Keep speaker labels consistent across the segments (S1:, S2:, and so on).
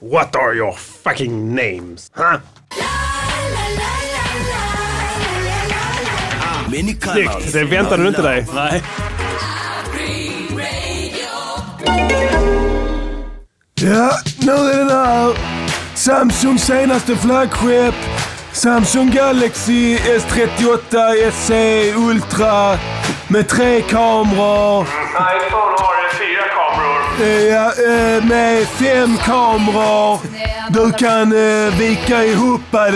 S1: What are your fucking names? Huh?
S2: Mini
S1: Snyggt! Det väntade du inte dig.
S2: Nej.
S3: Ja, nu är det här. Samsungs senaste flaggskepp. Samsung Galaxy S38 SE Ultra. Med tre kameror.
S4: iPhone har fyra kameror.
S3: Eh, ja, eh, med fem kameror. Du kan eh, vika ihop den.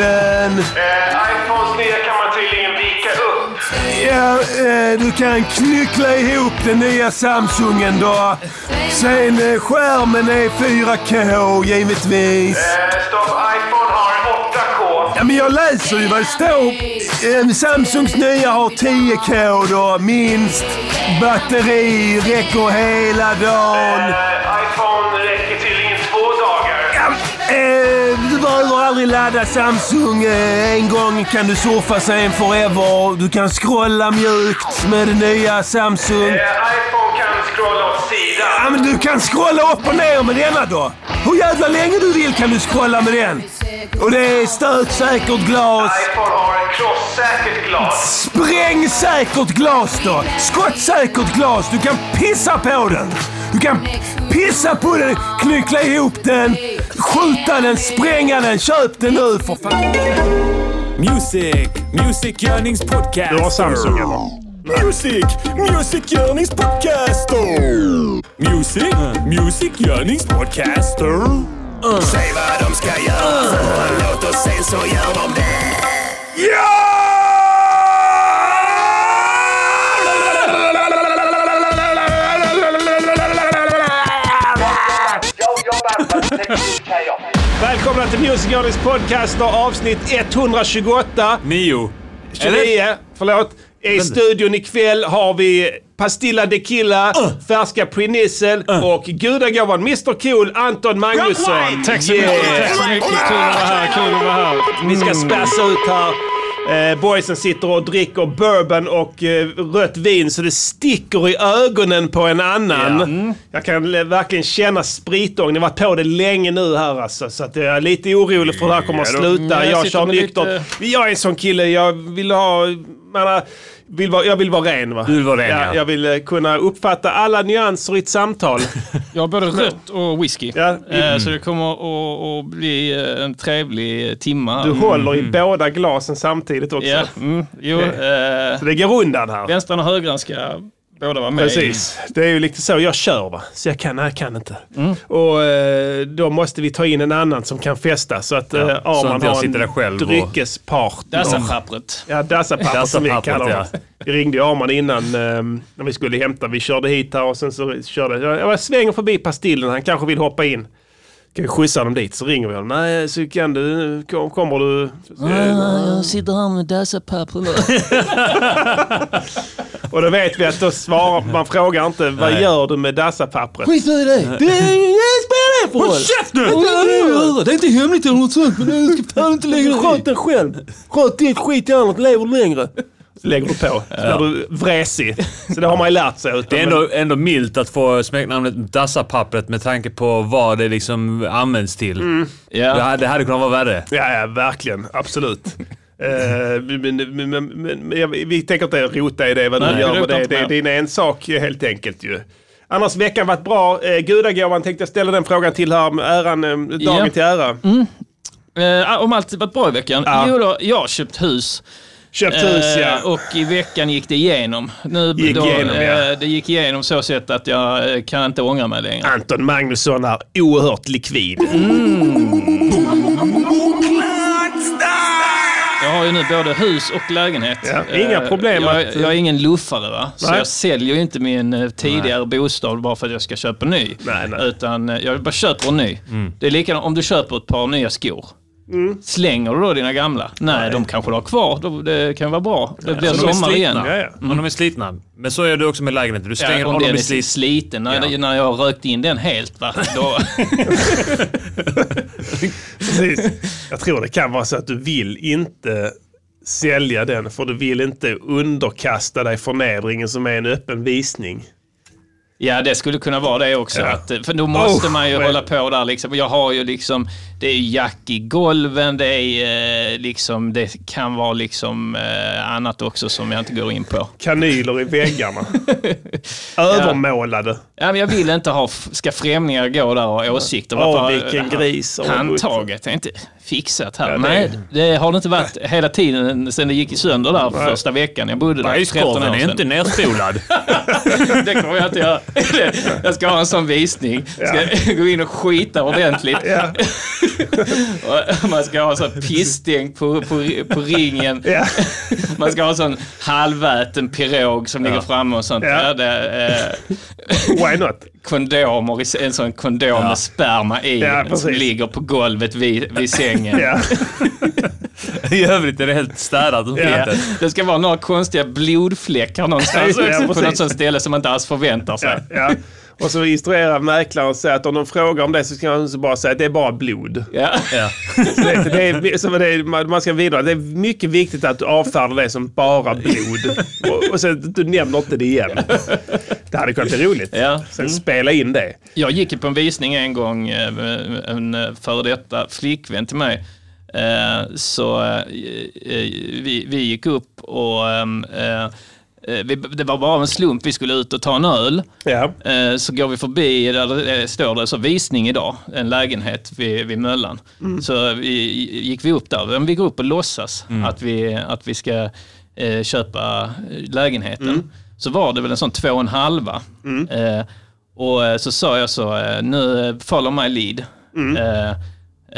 S4: Eh, iPhones nya kan man tydligen vika upp.
S3: Ja, eh, du kan knyckla ihop den nya Samsungen då. Sen eh, skärmen är 4K givetvis.
S4: Eh, stopp, iPhone har 8K.
S3: Ja, men jag läser ju vad det står. Eh, Samsungs nya har 10K då, minst. Batteri räcker hela dagen.
S4: Eh, iPhone räcker tydligen två dagar.
S3: Eh, du behöver aldrig ladda Samsung. Eh, en gång kan du surfa, sen forever. Du kan scrolla mjukt med det nya Samsung.
S4: Eh, iPhone kan scrolla åt
S3: Ja,
S4: sidan.
S3: men du kan scrolla upp och ner med denna då. Hur jävla länge du vill kan du scrolla med den. Och det är stötsäkert glas.
S4: iPhone har ett krossäkert glas.
S3: Sprängsäkert glas då! Skottsäkert glas! Du kan pissa på den! Du kan pissa på den, knyckla ihop den, skjuta den, spränga den. Köp den nu för fan!
S2: Music, Music Görnings podcast.
S1: Du har Samsung eller?
S2: Music, Music Görnings podcaster. Music, Music Görnings podcaster. Säg vad de ska göra för en låt och sen så gör de det.
S4: Jag jobbar med teknik här jag.
S1: Välkomna till Music Journeys podcast och avsnitt 128.
S2: Nio.
S1: 29, förlåt. I studion ikväll har vi Pastilla de Killa,
S5: Äh.
S1: Färska Prinissel och gudagåvan Mr Cool Anton Magnusson.
S5: Tack så mycket. Tack så mycket. Kul att vara här. Kul att vara här.
S1: Vi ska spassa ut här. Eh, boysen sitter och dricker bourbon och eh, rött vin så det sticker i ögonen på en annan. Jag kan eh, verkligen känna spritången. Jag har varit på det länge nu här alltså. Så att jag är lite orolig för hur det här kommer att sluta.
S5: Mm, jag
S1: Jag
S5: sitter
S1: kör
S5: med
S1: nyktert.
S5: lite-
S1: Jag är en sån kille. Jag vill ha... Man, vill vara, jag vill vara ren va? Du
S2: vill vara ren, ja.
S1: Jag vill eh, kunna uppfatta alla nyanser i ett samtal.
S5: Jag har både rött och whisky.
S1: Ja. Mm.
S5: Eh, Så det kommer att- att bli eh, en trevlig timma.
S1: Du
S2: Mm.
S1: håller i båda glasen samtidigt också.
S5: Ja, mm, jo. eh,
S1: Så det går undan här.
S5: Vänstern och högern ska båda vara med.
S1: Precis. Det är ju lite så jag kör va. Så jag kan, nej, jag kan inte.
S2: Mm.
S1: Och eh, då måste vi ta in en annan som kan festa så att eh,
S2: så
S1: Arman
S2: att jag
S1: har
S2: sitter där
S1: en
S2: själv och- Alltså,
S1: dryckespart.
S5: Dassachappret.
S1: Ja, dassapapper som vi
S2: Dassapappret,
S1: kallar
S2: ja.
S1: det. Vi ringde ju Arman innan eh, när vi skulle hämta. Vi körde hit här och sen så körde jag. Jag svänger förbi Pastillen, han kanske vill hoppa in. Kan vi skjutsa honom dit? Så ringer vi honom. Nej, så kan du, kom- kommer du?
S3: Ah.
S5: Jag sitter här med dassapappret nu.
S1: Och då vet vi att då svarar man frågar inte vad gör du med dassapappret?
S3: Skit i dig! Det spelar ingen roll! Det är inte hemligt eller något sånt, men du ska fan inte lägga Sköt den själv! Sköt ditt skit i annat, lever längre.
S1: lägger du på. Så blir du vresig. Så det har man ju lärt sig. Utan,
S2: Det är ändå, ändå milt att få smeknamnet Dassapappret med tanke på vad det liksom används till. Det,
S5: Mm. Ja.
S2: hade, det hade kunnat vara värre.
S1: ja, ja, verkligen. Absolut. Eh, men, men, men, men, men jag- vi tänker inte rota i det vad du
S5: Nej, vi
S1: gör. men
S5: rotar
S1: Det,
S5: inte
S1: det,
S5: med.
S1: det är en sak eh, helt enkelt ju. Annars veckan varit bra. Eh, gudagåvan tänkte jag ställa den frågan till här. med Äran, eh, dagen
S5: Ja. Mm.
S1: till ära.
S5: Eh, om allt varit bra i veckan?
S1: Ja.
S5: Jo då, jag har köpt hus.
S1: Köpt hus
S5: Eh,
S1: ja.
S5: Och i veckan gick det igenom. Nu,
S1: Gick igenom,
S5: eh,
S1: ja.
S5: Det gick igenom så sätt att jag eh, kan inte ångra mig längre.
S1: Anton Magnusson är oerhört likvid.
S5: Mm. Jag har ju nu både hus och lägenhet.
S1: Ja, inga
S5: Eh,
S1: problem
S5: Jag,
S1: att-
S5: jag är ingen luffare va. Så
S1: Nej.
S5: jag säljer ju inte min eh, tidigare bostad bara för att jag ska köpa en ny.
S1: Nej, nej. Mm.
S5: Utan eh, jag bara köper en ny. Det är likadant om du köper ett par nya skor. Slänger du då dina gamla? Nej, de kanske du har kvar. Då- Det kan vara bra. Det blir
S2: Om de är
S5: sommar igen.
S1: Ja,
S2: slitna.
S1: ja.
S2: Om de är slitna. Men så gör du också med lägenheten. Du stänger
S5: Ja, om
S2: om de
S5: den
S2: blir
S5: är sliten.
S2: slitna.
S5: sliten. När,
S2: Ja.
S5: när jag har rökt in den helt va. Då,
S1: Precis. Jag tror det kan vara så att du vill inte sälja den för du vill inte underkasta dig förnedringen som är en öppen visning.
S5: Ja, det skulle kunna vara det också.
S1: Ja.
S5: Att, eh, för då måste
S1: Oh,
S5: man ju
S1: vad-
S5: hålla på där liksom. Och Jag har ju liksom, det är ju jack i golven, det är eh, liksom, det kan vara liksom eh, annat också som jag inte går in på.
S1: Kanyler i väggarna. Övermålade.
S5: Ja, men jag vill inte ha, f- ska främlingar gå där och ha åsikter?
S1: Åh,
S5: Varför-
S1: vilken gris. Åh,
S5: Handtaget är inte fixat här.
S1: Ja, det-
S5: Nej, det har det inte varit hela tiden sen det gick sönder där första veckan jag bodde där. 13 år
S6: Bajskorven är
S5: sedan.
S6: inte nerspolad.
S5: Det kommer jag inte göra. Jag ska ha en sån visning. Ska gå in och skita ordentligt.
S1: Ja.
S5: Och Man ska ha en sån pissstänk på, på, på ringen.
S1: Ja.
S5: Man ska ha en sån halväten pirog som ligger framme och sånt.
S1: Ja.
S5: Ja. det, eh,
S1: Why not?
S5: kondomer, i- en sån kondom med sperma i
S1: Ja,
S5: som
S1: precis.
S5: ligger på golvet vid, vid sängen.
S1: Ja.
S6: I övrigt är det helt städat.
S1: Ja.
S5: Det- Det ska vara några konstiga blodfläckar någonstans
S1: Ja,
S5: också på
S1: precis.
S5: något sånt ställe som man inte alls förväntar sig.
S1: Ja, ja. Och så instruerar mäklaren och säger att om de frågar om det så ska man så bara säga att det är bara blod.
S5: Ja.
S1: Så det, det är, så det är, man man ska vidare. Det är mycket viktigt att du avfärdar det som bara blod. Och, och sen du nämner inte det igen. Det hade kunnat bli roligt.
S5: Ja.
S1: Sen spela in det.
S5: Jag gick ju på en visning en gång, eh, med en eh, före detta flickvän till mig. Eh, Så eh, eh, vi, vi gick upp och ehm, eh, eh, vi, det var bara av en slump vi skulle ut och ta en öl.
S1: Ja.
S5: Eh, Så går vi förbi, där det eh, står det så visning idag, en lägenhet vid, vid Möllan. Så vi, gick vi upp där, Men vi går upp och låtsas att, vi, att vi ska eh, köpa lägenheten. Så var det väl en sån två och en halva. Eh, och eh, så sa jag så, eh, nu eh, follow my lead. Eh,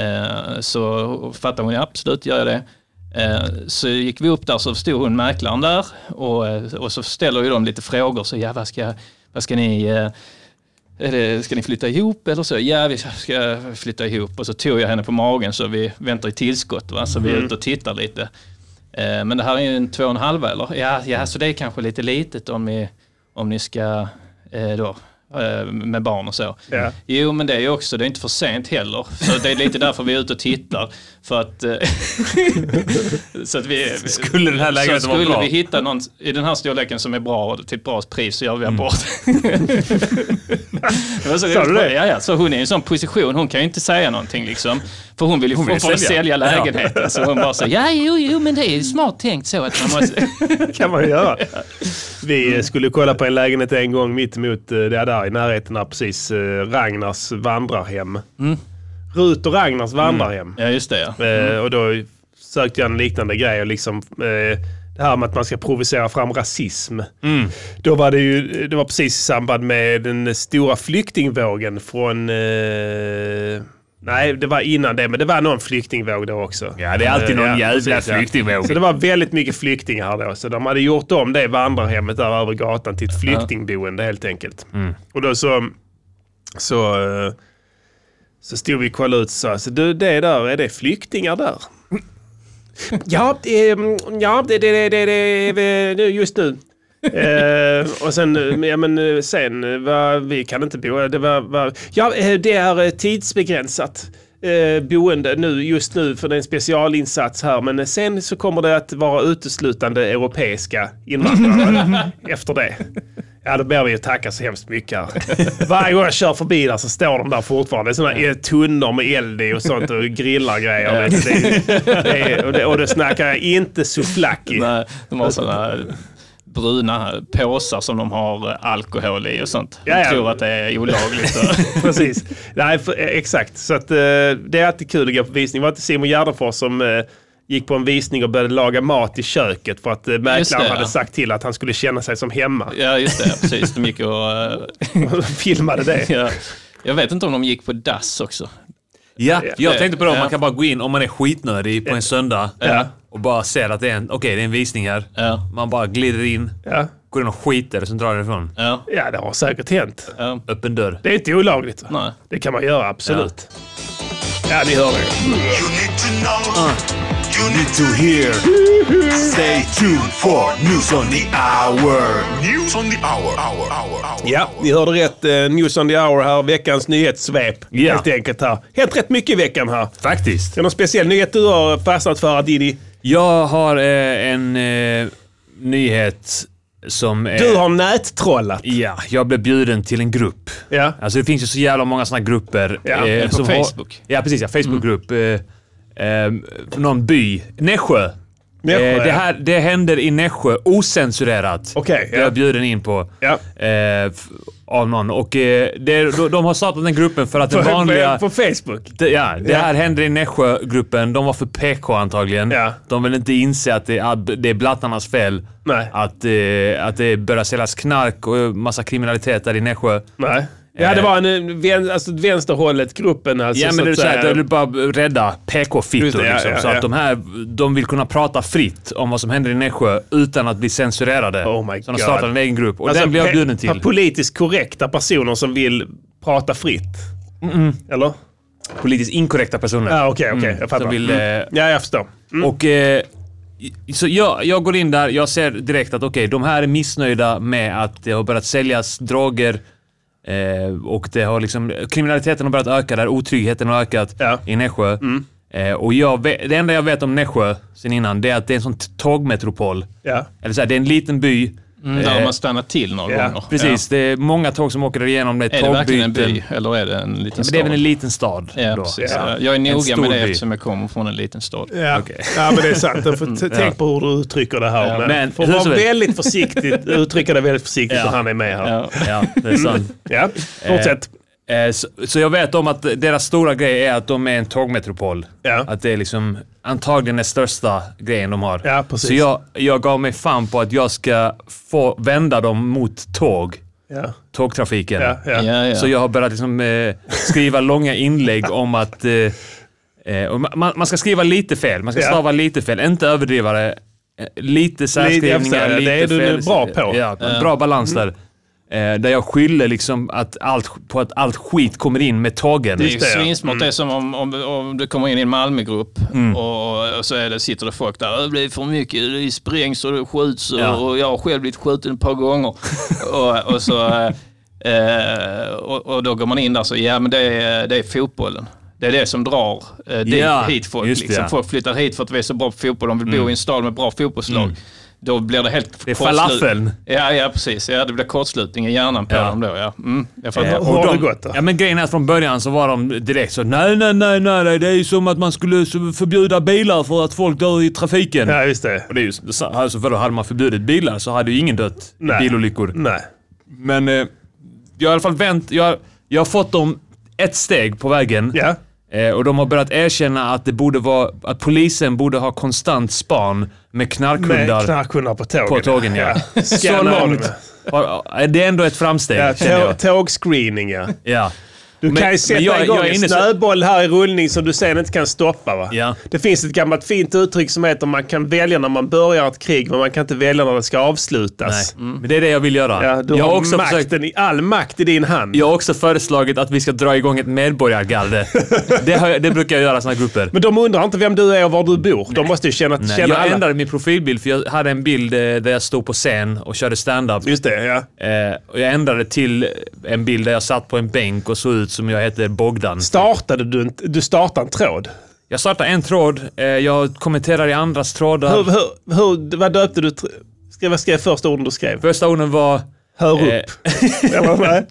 S5: eh, så fattade hon, ja, absolut gör jag det. Eh, Så gick vi upp där så stod hon mäklaren där och, eh, och så ställer ju de lite frågor. Så ja, vad ska, vad ska ni... eh, Är det, ska ni flytta ihop eller så? Ja, vi ska flytta ihop. Och så tog jag henne på magen så vi väntar i tillskott. Va? Så vi är ute och tittar lite. Eh, Men det här är ju en två och en halva eller? Ja, ja så det är kanske lite litet om ni, om ni ska eh, då, eh, med barn och så.
S1: Ja.
S5: Jo, men det är ju också, det är inte för sent heller. Så det är lite därför vi är ute och tittar. För att... eh, så att vi,
S6: Skulle den här lägenheten
S5: så
S6: vara
S5: skulle
S6: bra?
S5: vi hitta någon i den här storleken som är bra till ett bra pris så gör vi abort. det var så
S1: Sa du det?
S5: Ja, ja. Så hon är i en sån position, hon kan ju inte säga någonting liksom. För hon vill ju hon
S6: vill
S5: sälja.
S6: sälja.
S5: sälja lägenheten. Så hon bara så, ja jo, jo men det är smart tänkt så att man måste...
S1: kan man ju göra. Vi eh, skulle kolla på en lägenhet en gång mitt emot eh, det där i närheten här precis eh, Ragnars vandrarhem. Rut och Ragnars vandrarhem.
S5: Ja just det ja.
S6: Mm.
S1: Eh, och då sökte jag en liknande grej. Och liksom, eh, det här med att man ska provocera fram rasism.
S6: Mm.
S1: Då var det ju det var precis i samband med den stora flyktingvågen från... Eh, nej, det var innan det, men det var någon flyktingvåg då också.
S6: Ja, det är alltid någon
S1: Eh,
S6: jävla
S1: precis, ja.
S6: flyktingvåg.
S1: Så det var väldigt mycket flyktingar här då. Så de hade gjort om det vandrarhemmet där över gatan till ett flyktingboende helt enkelt.
S6: Mm.
S1: Och då så... så eh, så stod vi och kollade ut och sa, så du det där, är det flyktingar där? ja, ehm, ja det, det, det, det, det, det just nu. Eh, och sen, eh, ja men eh, sen, eh, va, vi kan inte bo, det var, var, ja eh, det är eh, tidsbegränsat eh, boende nu, just nu, för det är en specialinsats här. Men eh, sen så kommer det att vara uteslutande europeiska invandrare efter det. Ja, då ber vi ju tacka så hemskt mycket här. Varje gång jag kör förbi där så står de där fortfarande. Det är sådana eh, tunnor med eld i och sånt och grillar grejer. vet du. Det, är- det, är- och, det, och då snackar jag inte souvlaki.
S5: De- De har sådana bruna påsar som de har alkohol i och sånt. De
S1: Ja, ja.
S5: tror att det är olagligt. och-
S1: Precis. Nej, för, eh, exakt. Så att, eh, det är alltid kul att gå på visning. Det var inte Simon Gärdenfors som eh, gick på en visning och började laga mat i köket för att eh, mäklaren
S5: det,
S1: hade
S5: ja.
S1: sagt till att han skulle känna sig som hemma.
S5: Ja just det, precis. De gick och... eh,
S1: Filmade det.
S5: Ja. Jag vet inte om de gick på dass också.
S6: Ja, jag tänkte på det.
S5: Ja.
S6: Man kan bara gå in om man är skitnödig på en söndag och bara ser att det är en, okej, det är en visning här.
S5: Ja.
S6: Man bara glider in,
S1: Ja.
S6: går in och skiter och sen drar därifrån.
S5: Ja,
S1: ja, det har säkert hänt.
S5: ja.
S6: Öppen dörr.
S1: Det är inte olagligt. va?
S5: Nej.
S1: Det kan man göra, absolut. Ja, ni hör det.
S2: You need to know. You Uh, need to hear. Stay tuned for news on the hour. News on the hour. hour, hour, hour
S1: Ja, ni hörde rätt. Eh, news on the hour här. Veckans nyhetssvep.
S6: Ja.
S1: Helt enkelt här. Hänt rätt mycket i veckan här. Är
S6: Faktiskt.
S1: det någon speciell nyhet du har fastnat för, Adidi?
S6: Jag har eh, en eh, nyhet Som är,
S1: Du har nättrollat.
S6: Ja, jag blev bjuden till en grupp.
S1: Ja.
S6: Alltså det finns ju så jävla många sådana grupper.
S1: Ja, Mm.
S6: eh,
S5: på
S6: som har-
S5: Facebook.
S6: ja, precis. Ja, Facebookgrupp. Eh, eh, någon by. Nässjö.
S1: Nässjö,
S6: eh, det,
S1: ja.
S6: här, det händer i Nässjö, ocensurerat.
S1: Okej,
S6: Jag
S1: ja.
S6: är bjuden in på.
S1: Ja.
S6: Eh, f- av någon. Och eh, det, de, de har startat den gruppen för att den vanliga...
S1: På, på Facebook.
S6: Det, ja, det
S1: Ja.
S6: här händer i Nässjögruppen. De var för PK antagligen.
S1: Ja.
S6: De vill inte inse att det är, det är blattarnas fel.
S1: Nej.
S6: Att, eh, att det börjar säljas knark och massa kriminalitet där i Nässjö.
S1: Nej. Ja, det var en, en vän, alltså vänsterhållet-gruppen. Alltså,
S6: Eh. ja,
S1: så
S6: men det är
S1: att
S6: så här,
S1: säga.
S6: det är bara rädda
S1: Just
S6: PK-fittor
S1: det, ja,
S6: liksom.
S1: ja,
S6: Så att
S1: ja.
S6: de här, de vill kunna prata fritt om vad som händer i Nässjö utan att bli censurerade.
S1: Oh my
S6: så
S1: God.
S6: de startade en egen grupp och
S1: Alltså,
S6: den blev jag
S1: pe-
S6: bjuden till.
S1: Politiskt korrekta personer som vill prata fritt. Eller?
S6: Politiskt inkorrekta personer.
S1: Ja, okej, okej.
S6: Mm.
S1: Jag fattar.
S6: Som vill,
S1: Mm.
S6: eh,
S1: Ja, jag förstår.
S6: Och, eh, i- så jag, jag går in där, jag ser direkt att okej, de här är missnöjda med att det har börjat säljas droger eh, och det har liksom, kriminaliteten har börjat öka där, otryggheten har ökat
S1: Ja. Mm.
S6: i Nässjö. Eh, och jag, ve- det enda jag vet om Nässjö sen innan, det är att det är en sån t- tågmetropol.
S1: Ja.
S6: Eller så här, det är en liten by.
S5: Mm, där har man stannat till några
S1: ja,
S5: gånger.
S6: Eh, Precis, det är många tåg som åker igenom. Det är,
S5: Ja. Är det verkligen en
S6: tågbyten.
S5: by eller är det en liten
S6: Men det är väl en
S5: stad?
S6: liten stad?
S5: Ja,
S6: då.
S5: precis.
S1: Ja.
S5: Jag är noga
S6: stor
S5: med det
S6: by.
S5: eftersom jag kommer från en liten stad.
S1: Ja. ja, men det är sant. För t- Tänk på hur du uttrycker det här.
S5: Ja,
S1: men
S6: men
S1: för
S6: hur
S1: var
S6: som helst.
S1: väldigt försiktigt, uttrycka det väldigt försiktigt
S6: Ja.
S1: när han är med här. Ja,
S5: Ja.
S6: Ja, det är sant.
S1: Mm. fortsätt.
S6: Eh, Så, så jag vet om att deras stora grej är att de är en tågmetropol.
S1: Ja.
S6: Att det är liksom antagligen den största grejen de har.
S1: Ja, precis.
S6: Så jag, jag gav mig fan på att jag ska få vända dem mot tåg.
S1: Ja.
S6: Tågtrafiken.
S1: Ja, ja.
S5: Ja, ja.
S6: Så jag har börjat liksom, eh, skriva långa inlägg om att eh, eh, och ma- man, man ska skriva lite fel. Man ska
S1: Ja.
S6: stava lite fel. Inte överdriva det. Eh, Lite
S1: jag förstår,
S6: särskrivningar,
S1: det
S6: lite
S1: är du
S6: fel.
S1: bra på. Mm.
S6: Ja, Bra balans där. Eh, där jag skyller liksom att allt, på att allt skit kommer in med tågen.
S5: Det är ju
S1: Just det, ja.
S5: svinsmart.
S6: Mm.
S5: Det är som om, om, om du kommer in i en Malmögrupp och, och så är det, sitter det folk där. "Äh, Det blir för mycket, det sprängs och det skjuts och,
S6: Ja.
S5: och jag har själv blivit skjuten ett par gånger. och, och, så, eh, eh, och, och då går man in där och så, ja men det är, det är fotbollen. Det är det som drar eh, dit,
S6: Ja,
S5: hit folk.
S6: just det,
S5: liksom.
S6: ja. Mm.
S5: Folk flyttar hit för att vi är så bra på fotboll. De vill bo i en stad med bra fotbollslag. Då blir det helt
S6: är
S5: kortslut-
S6: falafeln.
S5: Ja, ja, precis. Ja, det blir kortslutning i hjärnan på
S6: Ja.
S5: dem då. Ja. Mm, jag fattar.
S6: Eh,
S1: Hur har det gått då?
S6: Ja men grejen är att från början så var de direkt så nej, nej, nej, nej, nej, det är ju som att man skulle så- förbjuda bilar för att folk dör i trafiken.
S1: Ja, just det.
S6: Och det är ju, så- alltså, för då hade man förbjudit bilar så hade ju ingen dött
S1: Nej.
S6: i bilolyckor.
S1: Nej.
S6: Men eh, jag har i alla fall vänt, jag, jag har fått dem ett steg på vägen.
S1: Ja.
S6: Eh, och de har börjat erkänna att det borde vara, att polisen borde ha konstant span med
S1: Med
S6: knarkhundar
S1: knarkhundar på tågen.
S6: på tågen. Ja. Så
S1: Scanna av
S6: långt.
S1: dem.
S6: har- eh, Det är ändå ett framsteg,
S1: Ja,
S6: känner jag.
S1: tå- Tågscreening, ja.
S6: Ja.
S1: Du kan ju sätta igång
S6: är
S1: en
S6: inne så-
S1: snöboll här i rullning som du sen inte kan stoppa. Va?
S6: Ja.
S1: Det finns ett gammalt fint uttryck som heter man kan välja när man börjar ett krig men man kan inte välja när det ska
S6: Nej,
S1: avslutas. Mm.
S6: men det är det jag vill göra.
S1: Ja, du
S6: jag,
S1: har
S6: har också
S1: makten,
S6: försökt,
S1: i, all makt i din hand.
S6: jag har också föreslagit att vi ska dra igång ett medborgargarde. det, har jag, det brukar jag göra i såna här grupper.
S1: Men de undrar inte vem du är och var du bor. De måste ju känna,
S6: Nej,
S1: känna
S6: jag
S1: alla.
S6: ändrade min profilbild för jag hade en bild eh, där jag stod på scen och körde stand-up.
S1: Just det, ja.
S6: Eh, och jag ändrade till en bild där jag satt på en bänk och såg ut som jag heter Bogdan.
S1: Startade du, en- du startade en tråd.
S6: Jag startade en tråd, eh, jag kommenterar i andras trådar.
S1: Hur, hur, hur, vad döpte du? tr- Skrev, vad skrev första orden du skrev?
S6: Första orden var...
S1: Hör upp.
S6: eh,
S1: Eller, nej?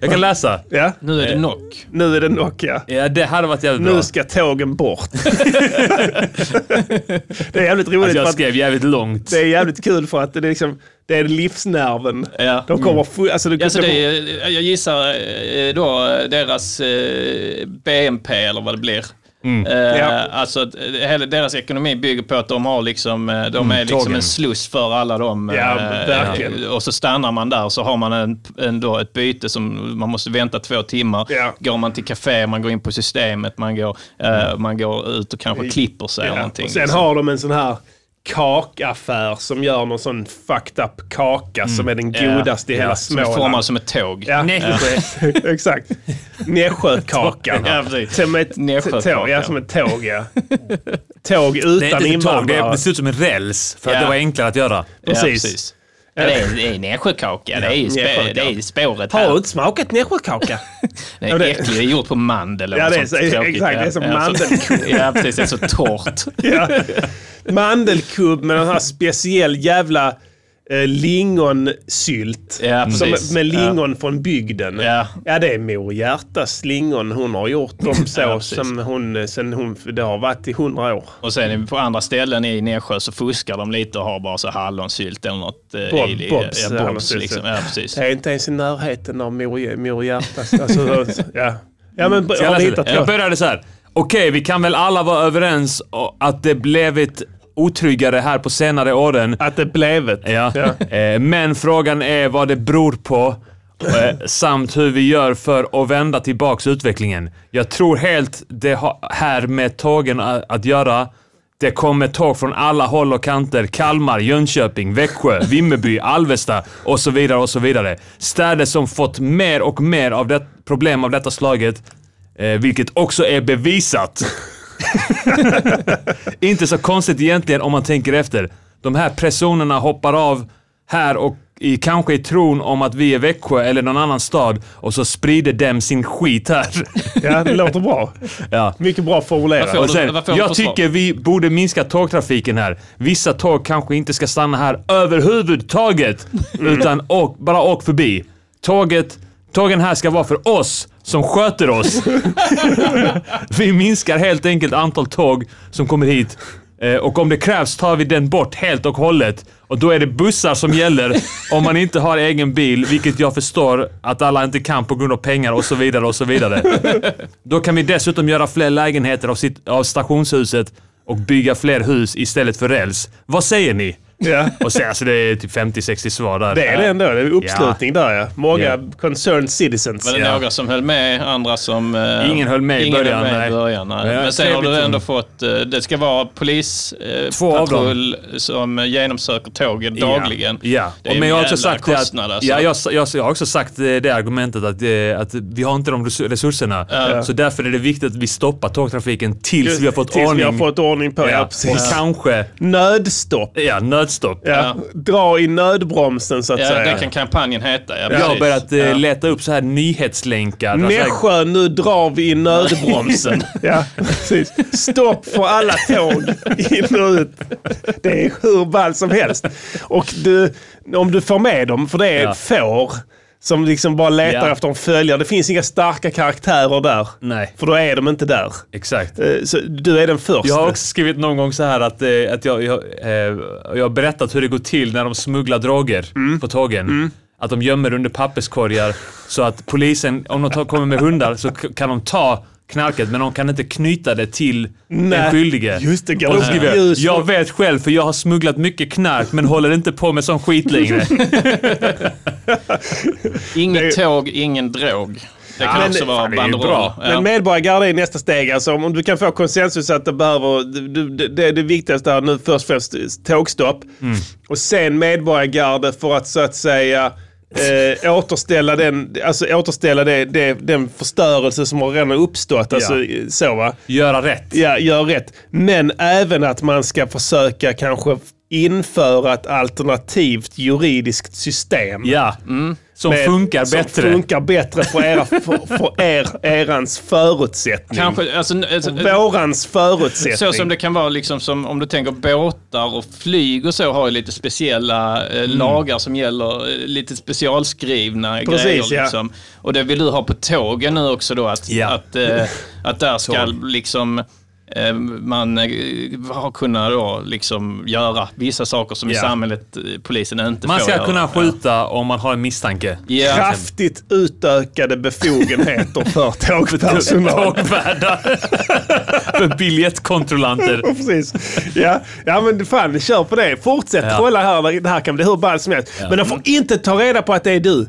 S6: jag kan läsa.
S1: ja.
S5: Nu är det knock.
S1: Nu är det Nokia.
S6: Ja, det hade varit jävligt bra.
S1: Nu ska tågen bort. det är jävligt roligt. för
S6: Alltså, jag
S1: att
S6: skrev jävligt långt.
S1: Det är jävligt kul för att det är, liksom, det är livsnerven.
S5: Ja. Mm.
S1: De kommer full, alltså, det,
S5: Ja, så
S1: de-
S5: det är, jag gissar eh, då eh, deras eh, BNP eller vad det blir. Eh,
S1: Mm. Ja.
S5: Alltså att, eh, hela deras ekonomi bygger på att de har liksom, eh, de är liksom
S6: tågen.
S5: en sluss för alla dem. eh,
S1: Mm, Ja, verkligen.
S5: eh, Och så stannar man där och så har man en, en då ett byte som man måste vänta två timmar.
S1: Ja.
S5: Går man till café, man går in på systemet, man går, eh, man går ut och kanske klipper sig eller
S1: Mm. ja.
S5: någonting.
S1: Och sen
S5: liksom.
S1: har de en sån här kakaffär som gör någon sån fucked up kaka som är den godaste i hela
S5: Mm. som är
S1: Småland.
S5: formad som ett tåg.
S1: Ja. Exakt. Nässjökakan.
S5: Ja, precis.
S1: som ett
S5: Nässjökakan.
S1: tåg. Ja, som ett tåg ja. Tåg utan
S6: Nej, inte ett tåg. Det,
S1: invandrare.
S6: det ser ut som en räls, för
S5: Ja.
S6: att det var enklare att göra.
S1: precis.
S5: Ja, det är, det är Nässjökaka, det är ju
S1: Nässjökaka.
S5: spå, det är ju spåret
S1: Har
S5: här.
S1: du inte smakat nässjökaka?
S5: Det
S1: Ja,
S5: är
S1: det-
S5: äckligt. Det är gjort på mandel eller
S1: Ja, det är
S5: något sånt
S1: så-
S5: tråkigt.
S1: exakt, det är som
S5: Ja, ja, så-
S1: mandelkubb.
S5: Ja, precis. Det är så torrt.
S1: ja. Mandelkubb med den här speciell jävla eh, lingonsylt.
S5: Ja,
S1: som,
S5: precis.
S1: med lingon från bygden.
S5: Ja.
S1: ja, det är Mor Hjärtas lingon. Hon har gjort dem så
S5: Ja, precis.
S1: som hon, eh, sen hon, det har varit i hundra år.
S5: Och sen på andra ställen i Nässjö så fuskar de lite och har bara så hallonsylt eller något. eh,
S1: Bob-
S5: i- i-
S1: Bobs
S5: ja, Bobs
S1: hallonsylt.
S5: liksom. Ja, precis.
S1: Det är inte ens i närheten av Mor, mor Hjärtas. Alltså, ja. ja, men har
S6: Jag,
S1: ni
S6: läser
S1: hittat
S6: det. jag
S1: på?
S6: började så här. Okej, vi kan väl alla vara överens o- att det blivit otryggare här på senare åren.
S1: Att det blev ett.
S6: Ja. Eh, Men frågan är vad det beror på eh, samt hur vi gör för att vända tillbaks utvecklingen. Jag tror helt det har här med tågen a- att göra. Det kommer tåg från alla håll och kanter. Kalmar, Jönköping, Växjö, Vimmerby, Alvesta och så vidare och så vidare. Städer som fått mer och mer av det problem av detta slaget, eh, vilket också är bevisat. Inte så konstigt egentligen om man tänker efter. De här personerna hoppar av här och i, kanske i tron om att vi är Växjö eller någon annan stad och så sprider dem sin skit här.
S1: Ja, det låter bra.
S6: ja.
S1: Mycket bra formulerat.
S5: Varför-
S6: Och sen,
S5: Vad får de
S6: jag
S5: för svar?
S6: tycker vi borde minska tågtrafiken här. Vissa tåg kanske inte ska stanna här överhuvudtaget. Utan åk, bara åk förbi. Tåget, tågen här ska vara för oss som sköter oss. vi minskar helt enkelt antal tåg som kommer hit. Eh, Och om det krävs tar vi den bort helt och hållet. Och då är det bussar som gäller om man inte har egen bil, vilket jag förstår att alla inte kan på grund av pengar och så vidare och så vidare. Då kan vi dessutom göra fler lägenheter av, sitt, av stationshuset och bygga fler hus istället för räls. Vad säger ni?
S1: Ja.
S6: Och sen, alltså det är typ 50-60 svar där.
S1: Det är det ändå. Det är uppslutning där ja. Många
S6: Ja.
S1: concerned citizens.
S5: Var det
S6: Ja.
S5: några som höll med, andra som... eh,
S6: Ingen höll med i
S5: ingen
S6: början,
S5: höll med
S6: nej.
S5: i början nej.
S6: Ja,
S5: Men sen har
S6: trevligt.
S5: du ändå fått... eh, Det ska vara polis, eh,
S6: Två av dem.
S5: patrull som genomsöker tågen dagligen.
S6: Ja.
S5: Det är
S6: Och men
S5: en
S6: jag har också
S5: jävla
S6: sagt det att,
S5: kostnad alltså.
S6: ja, jag, jag, jag har också sagt eh, det argumentet att, eh, att vi har inte de resu- resurserna. Så därför är det viktigt att vi stoppar tågtrafiken tills vi har fått
S1: Tills
S6: ordning.
S1: vi har fått ordning på. Ja,
S6: ja, och
S1: precis.
S6: kanske,
S1: Nödstopp.
S6: ja, nödstopp.
S1: Ja. Dra i nödbromsen så att
S5: Ja,
S1: säga.
S5: det kan kampanjen heta. Ja,
S6: Jag har
S5: precis.
S6: börjat eh, leta upp så här nyhetslänkar. Alltså,
S1: Nässjö, nu drar vi i nödbromsen. ja, precis. Stopp för alla tåg in och ut. Det är hur ball som helst. Och du, om du får med dem, för det är
S6: Ja.
S1: får som liksom bara letar
S6: Ja.
S1: efter en följare. Det finns inga starka karaktärer där.
S6: Nej.
S1: För då är de inte där.
S6: Exakt.
S1: Eh, Så du är den första.
S6: Jag har också skrivit någon gång så här att, eh, att jag, jag, eh, jag har berättat hur det går till när de smugglar droger
S1: Mm.
S6: på tågen. Att de gömmer under papperskorgar så att polisen, om de tar, kommer med hundar så k- kan de ta knarket men de kan inte knyta det till den
S1: Nej.
S6: skyldige.
S1: Just det, går
S6: Och då
S1: upp
S6: skriver jag,
S1: ljus.
S6: jag vet själv för jag har smugglat mycket knark men håller inte på med sån skit längre.
S5: Inget tåg, ingen drog. Det kan
S1: men-
S5: också vara
S1: fan, det är ju
S5: banderoller.
S1: bra. Men medborgargarde är nästa steg. Alltså, om du kan få konsensus att det behöver... Det, det, det är det viktigaste här nu först och främst tågstopp. Och sen medborgargarde för att så att säga eh, återställa, den, alltså, återställa det, det, den förstörelse som har redan uppstått. Alltså, så, va?
S6: Göra rätt.
S1: Ja, gör rätt. Men även att man ska försöka kanske införa ett alternativt juridiskt system
S6: Ja. Som
S1: Mm. med-
S6: funkar
S1: som
S6: bättre.
S1: funkar bättre för, era, för, för er, erans förutsättning.
S5: Kanske, alltså, alltså,
S1: Vårans förutsättning.
S5: Så som det kan vara liksom som om du tänker båtar och flyg och så har ju lite speciella eh,
S1: Mm.
S5: lagar som gäller eh, lite specialskrivna
S1: Precis,
S5: grejer.
S1: ja.
S5: Liksom. Och det vill du ha på tågen nu också då att,
S6: Ja.
S5: att, eh, att där ska liksom eh, man eh, har kunnat då liksom göra vissa saker som i
S6: Ja.
S5: samhället eh, polisen inte
S6: Man
S5: får
S6: ska
S5: göra.
S6: kunna skjuta om man har en misstanke.
S5: Ja,
S1: Kraftigt utökade befogenheter för tågpersonal.
S6: Tågvärdar. För biljettkontrollanter.
S1: Precis. Ja. ja, men fan, kör på det. Fortsätt
S6: Ja.
S1: trolla här. Det här kan bli hur ballt som helst. Men de får inte ta reda på att det är du.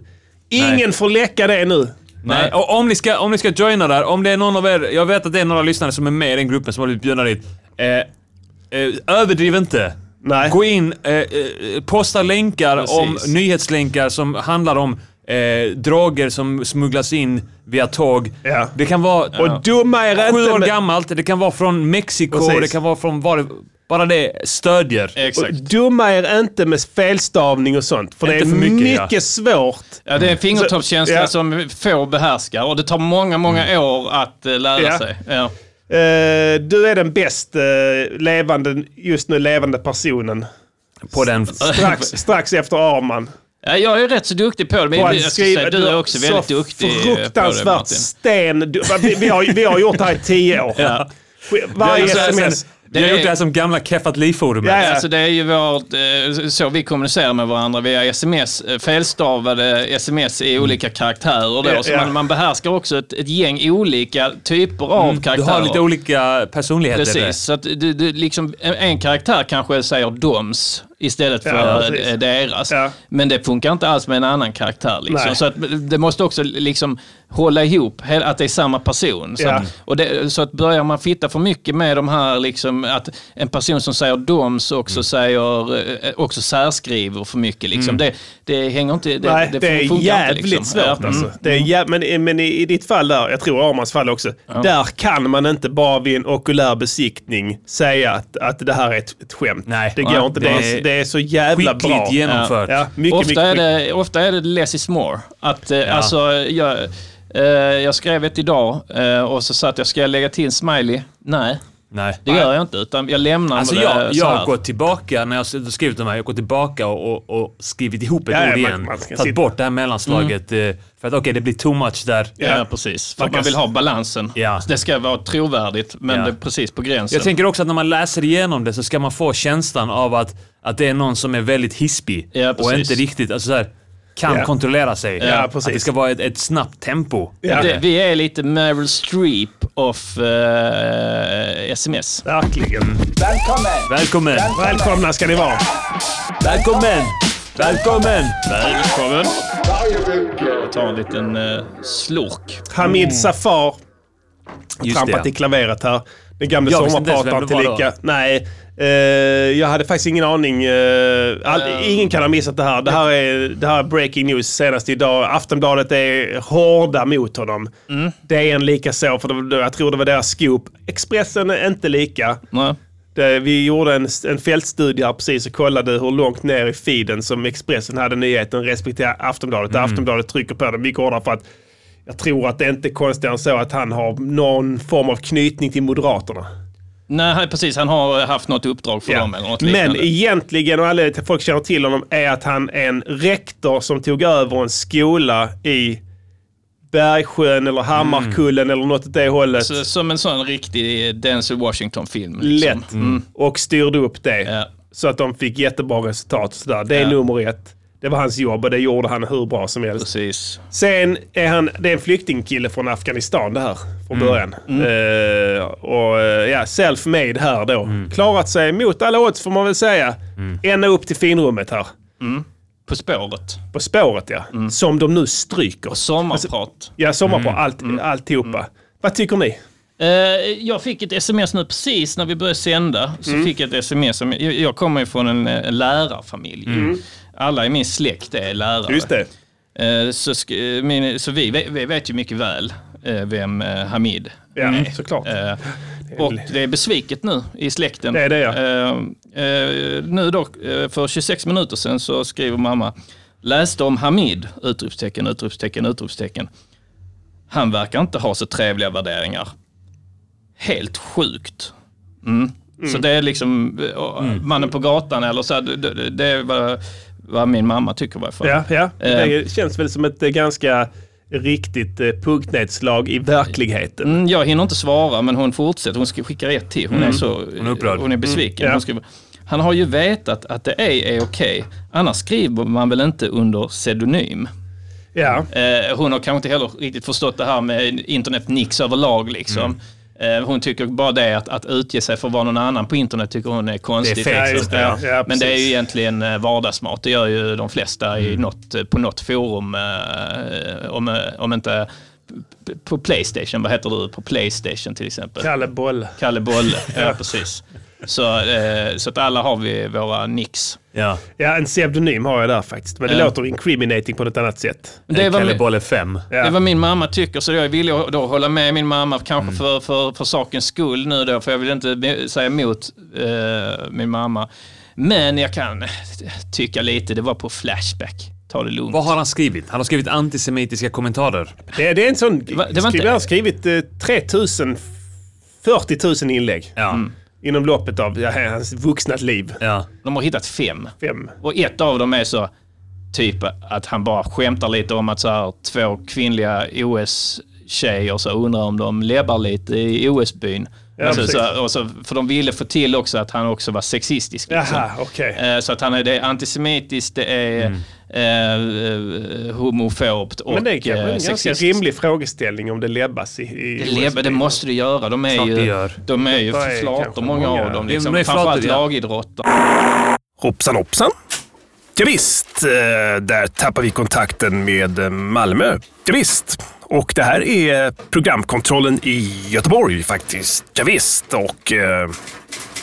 S1: Ingen
S6: Nej.
S1: får läcka det nu.
S6: Nej. Och om ni, ska, om ni ska joina där, om det är någon av er, jag vet att det är några lyssnare som är med i den gruppen som har blivit bjudna dit. Eh, eh, överdriv inte.
S1: Nej.
S6: Gå in, eh, eh, posta länkar om
S5: Precis.
S6: nyhetslänkar som handlar om eh, droger som smugglas in via tåg.
S1: Ja.
S6: Det kan vara
S1: Och dumma er
S6: sju
S1: inte
S6: år
S1: med-
S6: gammalt, det kan vara från Mexiko,
S1: Precis.
S6: det kan vara från var, bara det stödjer.
S5: exakt.
S1: Dumma er inte med felstavning och sånt. För det
S6: Inte
S1: är
S6: för mycket, ja.
S1: mycket svårt.
S5: Ja, det är en fingertoppskänsla
S1: Så- ja. Mm.
S5: som få behärskar och det tar många, många år att eh, lära
S1: Ja.
S5: sig. Ja.
S1: Eh, du är den bäst eh, levande, just nu levande personen.
S6: på den...
S1: Strax, strax efter Arman.
S5: Ja, jag är rätt så duktig på det, men
S1: Och
S5: jag,
S1: han
S5: jag ska
S1: skriver-
S5: säga, du är också
S1: så
S5: väldigt duktig eh, på det,
S1: fruktansvärt
S5: Martin.
S1: sten... Du, vi, vi, har, vi har gjort det här i tio år.
S5: Ja.
S1: Varje
S5: Ja, så här,
S1: sms.
S6: Vi har gjort det här som gamla Keffat Li-forumet.
S1: Ja, ja.
S5: Alltså det är ju vårt, eh, så vi kommunicerar med varandra via sms, eh, felstavade sms i olika karaktärer. Då,
S1: Mm. Ja,
S5: så
S1: ja.
S5: man, man behärskar också ett, ett gäng olika typer av
S1: Mm.
S6: Du
S5: karaktärer.
S6: har lite olika personligheter.
S5: Precis, så att du, du, liksom, en- en karaktär kanske säger doms istället för
S1: Ja, precis.
S5: eh, deras.
S1: Ja.
S5: Men det funkar inte alls med en annan karaktär.
S1: Nej.
S5: Liksom. Så att det måste också liksom hålla ihop, he- att det är samma person. Så,
S1: Ja.
S5: att, och det, så att börjar man fitta för mycket med de här, liksom, att en person som säger doms
S1: Mm.
S5: också, säger, eh, också särskriver för mycket. Liksom. Det, det hänger inte... Det,
S1: Nej, det,
S5: funkar
S1: är
S5: inte,
S1: jävligt
S5: liksom.
S1: svårt
S5: Ja. Mm.
S1: alltså. Det är jäv... men, i- men i, i ditt fall där, jag tror Armans fall också, där kan man inte bara vid en okulär besiktning säga att, att det här är ett, ett skämt.
S6: Nej.
S1: det går
S5: Nej,
S1: inte.
S6: det
S1: Det
S6: är
S1: är, det är så jävla bra.
S6: Skickligt genomfört.
S1: Ja, mycket,
S5: ofta,
S1: mycket,
S5: är
S1: mycket.
S5: det, ofta är det less is more. Att, eh, alltså, jag, eh, jag skrev ett idag eh, och så satt jag, ska jag lägga till en smiley? Nej,
S6: Nej.
S5: det gör jag inte. Utan jag lämnar
S6: Alltså
S5: det
S6: jag,
S5: så
S6: jag
S5: här.
S6: har gått tillbaka, när jag har skrivit de här, jag har gått tillbaka och, och, och skrivit ihop ett
S1: Ja, ja,
S6: ord
S1: man-
S6: igen.
S1: man ska
S6: Tagit
S1: sitta-
S6: bort det här mellanslaget.
S5: Mm.
S6: eh, För att okej, det blir too much där.
S5: Ja, precis. För att man vill ha balansen.
S6: Ja.
S5: Det ska vara trovärdigt, men
S6: Ja.
S5: det är precis på gränsen.
S6: Jag tänker också att när man läser igenom det så ska man få känslan av att, att det är någon som är väldigt hispig.
S5: Ja,
S6: och
S5: precis.
S6: inte riktigt, alltså så här, kan
S1: Ja.
S6: kontrollera sig.
S1: Ja,
S6: att
S1: precis.
S6: det ska vara ett, ett snabbt tempo.
S1: Ja.
S5: det, vi är lite Meryl Streep of eh, sms.
S1: Verkligen.
S4: Välkommen!
S6: Välkommen!
S1: Välkomna ska ni vara.
S6: Välkommen! Välkommen!
S5: Välkommen! Jag tar en liten eh, slurk.
S1: Hamid Safar
S6: Just
S1: trampat i
S6: det.
S1: klaveret här. Den gamle
S6: Jag visste inte ens
S1: sommarprataren
S6: vem det var
S1: tillika. Nej, eh, jag hade faktiskt ingen aning. eh, all, ingen kan ha missat det här. Det här, är, det här är breaking news senast idag. Aftonbladet är hårda mot honom.
S6: Mm.
S1: DN lika så, för det, jag tror det var deras scoop. Expressen är inte lika.
S5: Nej.
S1: Det, vi gjorde en, en fältstudie här precis och kollade hur långt ner i feeden som Expressen hade nyheten respektive Aftonbladet.
S5: Mm.
S1: Där Aftonbladet trycker på den mycket hårdare för att jag tror att det inte är konstigt än så att han har någon form av knytning till Moderaterna.
S5: Nej, precis. Han har haft något uppdrag för
S1: Ja.
S5: dem eller något
S1: Men
S5: liknande.
S1: egentligen, och anledningen till att folk känner till honom, är att han är en rektor som tog över en skola i Bergsjön eller Hammarkullen eller något åt det hållet.
S5: Mm. Så, eh, som en sån riktig Denzel Washington-film. Liksom.
S1: lätt Mm. och styrde upp det.
S5: Ja.
S1: Så att de fick jättebra resultat. och Sådär. Det är
S5: Ja.
S1: nummer ett. Det var hans jobb och det gjorde han hur bra som helst.
S5: Precis.
S1: Sen är han, det är en flyktingkille från Afghanistan det här från
S5: Mm.
S1: början. Eh, och eh, ja, self-made här då.
S5: Mm.
S1: Klarat sig mot alla odds får man väl säga. Ända upp till finrummet här.
S5: På spåret.
S1: På spåret ja.
S5: Mm.
S1: Som de nu stryker.
S5: Sommarprat.
S1: Ja, sommar
S5: Mm.
S1: på allt, alltihopa. Vad tycker ni?
S5: Eh, jag fick ett sms nu precis när vi började sända. Så fick jag ett sms. Som, jag, jag kommer ju från en, eh, en lärarfamilj. Alla i min släkt är lärare.
S1: Just det.
S5: Eh, så, sk- eh, min, så vi, ve- vi vet ju mycket väl eh, vem eh, Hamid
S1: Ja,
S5: är.
S1: såklart.
S5: Eh, och det är besviket nu i släkten.
S1: Det är det, ja.
S5: Eh, eh, nu dock, eh, för 26 minuter sedan så skriver mamma, läste om Hamid, utropstecken, utropstecken, utropstecken. Han verkar inte ha så trevliga värderingar. Helt sjukt. Mm. Så det är liksom eh, och,
S1: Mm.
S5: mannen på gatan eller så, här, det, det, det är vad, vad min mamma tycker i varje fall.
S1: Ja, ja.
S5: Eh.
S1: det känns väl som ett eh, ganska riktigt eh, punktnedslag i verkligheten.
S5: Mm, jag hinner inte svara, men hon fortsätter. Hon sk- skickar ett till. Hon är så...
S6: Mm. Hon är upprörd.
S5: Hon är besviken.
S1: Ja.
S5: Hon skriver, han har ju vetat att det ej är okej. Annars skriver man väl inte under pseudonym.
S1: Ja.
S5: Eh, hon har kanske inte heller riktigt förstått det här med internet nix överlag liksom.
S1: Mm.
S5: Eh, hon tycker bara det att, att utge sig för att vara någon annan på internet tycker hon är konstigt.
S6: Det är fake,
S5: liksom.
S1: just det, ja. Ja,
S5: Men det är ju
S1: precis. Mm.
S5: egentligen eh, vardagsmat. Det gör ju de flesta i något, på något forum. Eh, om, eh, om inte p- på Playstation, vad heter du på Playstation till exempel?
S1: Kalle Boll.
S5: Kalle Bolle, ja precis. Så, eh, så att alla har vi våra nix.
S6: Ja.
S1: Ja, en pseudonym har jag där faktiskt. Men det
S5: Ja.
S1: låter incriminating på något annat sätt.
S5: Det är väl-
S6: Kalle Bolle 5.
S1: Ja.
S5: Det är vad min mamma tycker, så jag vill då hålla med min mamma, kanske
S1: Mm.
S5: för, för, för sakens skull nu då, för jag vill inte be- säga emot eh, min mamma. Men jag kan tycka lite, det var på Flashback. Ta det lugnt.
S6: Vad har han skrivit? Han har skrivit antisemitiska kommentarer.
S1: Det, det är en sån...
S5: var- det var
S1: skriv-
S5: inte- Mm.
S1: Jag har skrivit eh, 3000, 40 000 inlägg.
S6: Ja.
S1: Inom loppet av ja, hans vuxna liv.
S6: Ja.
S5: De har hittat fem.
S1: Fem.
S5: Och ett av dem är så typ att han bara skämtar lite om att så här, två kvinnliga OS-tjejer så undrar om de läbbar lite i OS-byn.
S1: Ja,
S5: alltså,
S1: precis.
S5: så här, och så, för de ville få till också att han också var sexistisk. liksom.
S1: Jaha, okej.
S5: Eh, Så att han är, det är antisemitiskt, det är
S6: Mm.
S5: eh, eh, homofobt och
S1: Men det är kanske en
S5: eh,
S1: ganska
S5: sexistiskt.
S1: rimlig frågeställning om det läbbas i... i
S5: Det, lever, det måste du göra. De är
S6: Klart det
S5: ju,
S6: gör.
S5: de är ju
S1: Det är kanske
S5: flator, många
S1: många.
S5: av dem.
S6: De-
S5: Liksom.
S6: de är flator,
S5: Framförallt
S6: ja.
S5: lagidrotter.
S3: Hoppsan hoppsan. Ja, visst, eh, där tappar vi kontakten med eh, Malmö. Ja, visst. Och det här är programkontrollen i Göteborg faktiskt. Ja, visst. och eh,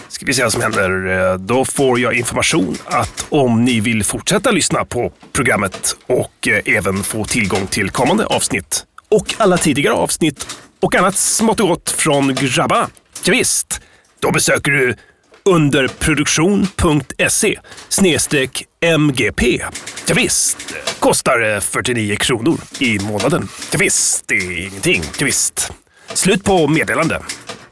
S3: ska vi se vad som händer. Eh, Då får jag information att om ni vill fortsätta lyssna på programmet och eh, även få tillgång till kommande avsnitt och alla tidigare avsnitt och annat smått och gott från grabbarna. Ja, visst. då besöker du underproduktion.se E snedstreck MGP. Ja, visst. kostar eh, 49 kronor i månaden. Ja, visst. det är ingenting. Ja, visst. Slut på meddelande.